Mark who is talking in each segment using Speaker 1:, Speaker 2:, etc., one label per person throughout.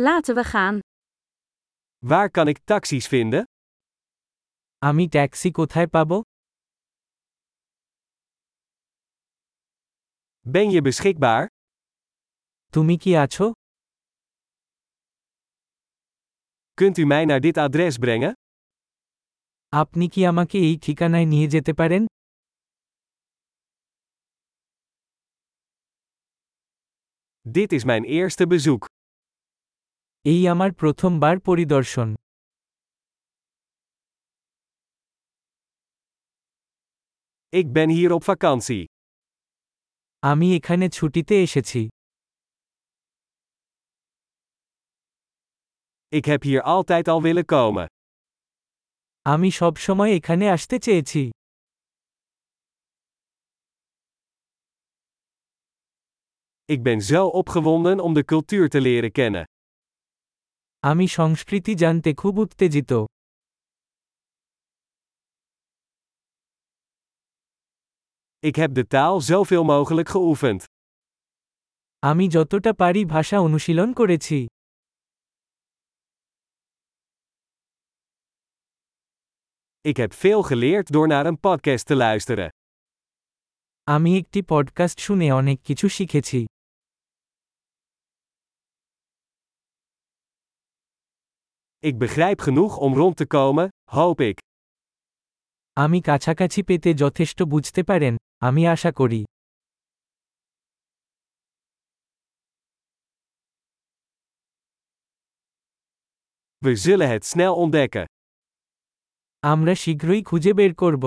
Speaker 1: Laten we gaan.
Speaker 2: Waar kan ik taxis vinden?
Speaker 3: আমি taxi কোথায় পাব
Speaker 2: Ben je beschikbaar?
Speaker 3: তুমি কি আছো
Speaker 2: Kunt u mij naar dit adres brengen?
Speaker 3: আপনি কি আমাকে এই ঠিকানায় নিয়ে যেতে পারেন
Speaker 2: Dit is mijn eerste bezoek.
Speaker 3: এই আমার প্রথমবার পরিদর্শন
Speaker 2: Ik ben hier op vakantie.
Speaker 3: আমি এখানে ছুটিতে এসেছি
Speaker 2: Ik heb hier altijd al willen komen.
Speaker 3: আমি সবসময় এখানে আসতে চেয়েছি
Speaker 2: Ik ben zo opgewonden om de cultuur te leren kennen.
Speaker 3: আমি সংস্কৃতি জানতে খুব উত্তেজিত
Speaker 2: Ik heb de taal zoveel mogelijk geoefend.
Speaker 3: আমি যতটা পারি ভাষা অনুশীলন করেছি
Speaker 2: Ik heb veel geleerd door naar een podcast te luisteren.
Speaker 3: আমি একটি পডকাস্ট শুনে অনেক কিছু শিখেছি
Speaker 2: Ik begrijp genoeg om rond te komen, hoop ik.
Speaker 3: আমি কাছাকাছি পেতে যথেষ্ট বুঝতে পারেন আমি আশা করি
Speaker 2: We zullen het snel ontdekken.
Speaker 3: আমরা শীঘ্রই খুঁজে বের করব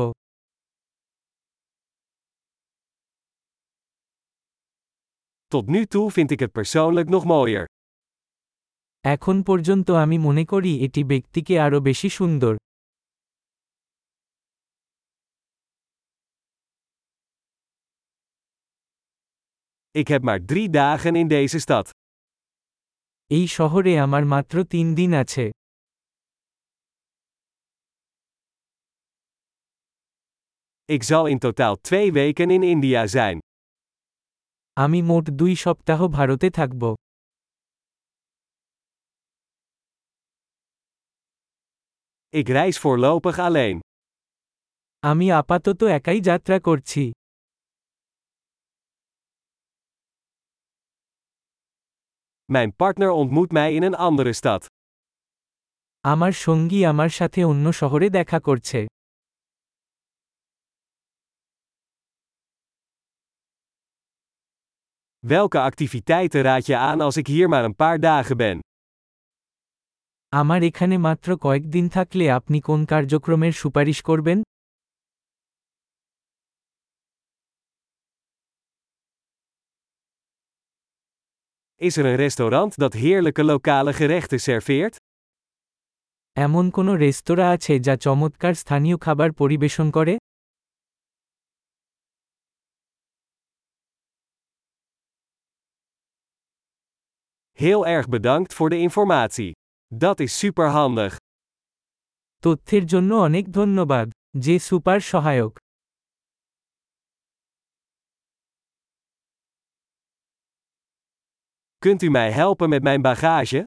Speaker 2: Tot nu toe vind ik het persoonlijk nog mooier.
Speaker 3: এখন পর্যন্ত আমি মনে করি এটি ব্যক্তিকে আরও বেশি সুন্দর
Speaker 2: Ik heb maar drie dagen in deze stad.
Speaker 3: এই শহরে আমার মাত্র তিন দিন আছে
Speaker 2: Ik zal in totaal twee weken in India zijn.
Speaker 3: আমি মোট দুই সপ্তাহ ভারতে থাকব
Speaker 2: Ik reis voorlopig alleen.
Speaker 3: আমি আপাতত একাই যাত্রা করছি
Speaker 2: Mijn partner ontmoet mij in een andere stad.
Speaker 3: আমার সঙ্গী আমার সাথে অন্য শহরে দেখা করছে
Speaker 2: Welke activiteiten raad je aan als ik hier maar een paar dagen ben?
Speaker 3: আমার এখানে মাত্র কয়েকদিন থাকলে আপনি কোন কার্যক্রমের সুপারিশ করবেন
Speaker 2: Is er een restaurant dat heerlijke lokale gerechten serveert?
Speaker 3: এমন কোনো রেস্তোরাঁ আছে যা চমৎকার স্থানীয় খাবার পরিবেশন করে
Speaker 2: Heel erg bedankt voor de informatie. Dat is superhandig.
Speaker 3: তথ্যের জন্য অনেক ধন্যবাদ যে সুপার সহায়ক
Speaker 2: Kunt u mij helpen met mijn bagage?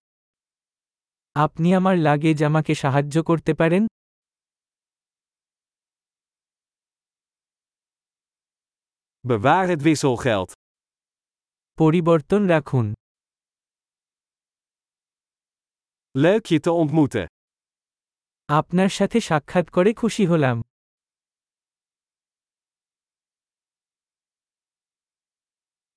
Speaker 3: আপনি আমার লাগেজ আমাকে সাহায্য করতে পারেন
Speaker 2: Bewaar het wisselgeld.
Speaker 3: পরিবর্তন রাখুন
Speaker 2: Leuk je te ontmoeten.
Speaker 3: আপনার সাথে সাক্ষাৎ করে খুশি হলাম